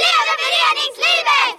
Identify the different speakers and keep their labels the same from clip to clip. Speaker 1: leve föreningslivet!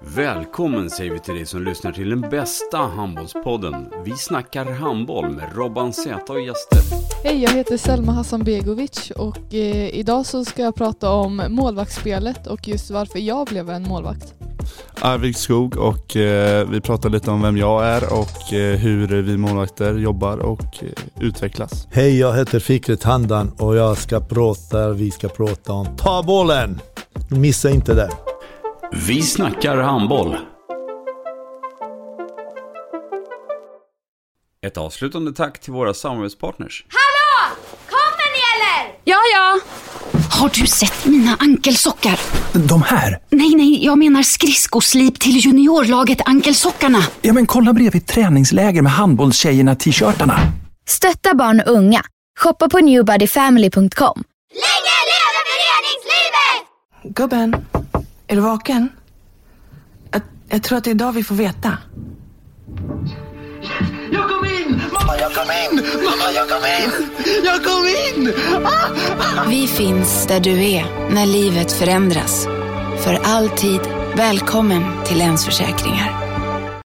Speaker 2: Välkommen säger vi till dig som lyssnar till den bästa handbollspodden. Vi snackar handboll med Robban Z och gäster.
Speaker 3: Hej, jag heter Selma Hassanbegovic och eh, idag så ska jag prata om målvaktsspelet och just varför jag blev en målvakt.
Speaker 4: Arvid Skog och eh, vi pratar lite om vem jag är och eh, hur vi målvakter jobbar och eh, utvecklas.
Speaker 5: Hej, jag heter Fikret Handan och jag ska prata, vi ska prata om ta bollen! Missa inte det.
Speaker 2: Vi snackar handboll. Ett avslutande tack till våra samarbetspartners.
Speaker 1: Hallå! Kommer ni eller?
Speaker 6: Ja, ja. Har du sett mina ankelsockar?
Speaker 7: De här?
Speaker 6: Nej, nej, jag menar skridskoslip till juniorlaget Ankelsockarna.
Speaker 7: Ja, men kolla bredvid träningsläger med handbollstjejerna-t-shirtarna.
Speaker 8: Stötta barn och unga. Shoppa på newbodyfamily.com.
Speaker 1: Länge leve föreningslivet!
Speaker 9: Gubben, är du vaken? Jag, jag tror att det är idag vi får veta.
Speaker 10: Jag kom in! Mamma, jag kom in! Mamma, jag kom in! Jag kom in!
Speaker 6: Vi finns där du är när livet förändras. För alltid välkommen till Länsförsäkringar.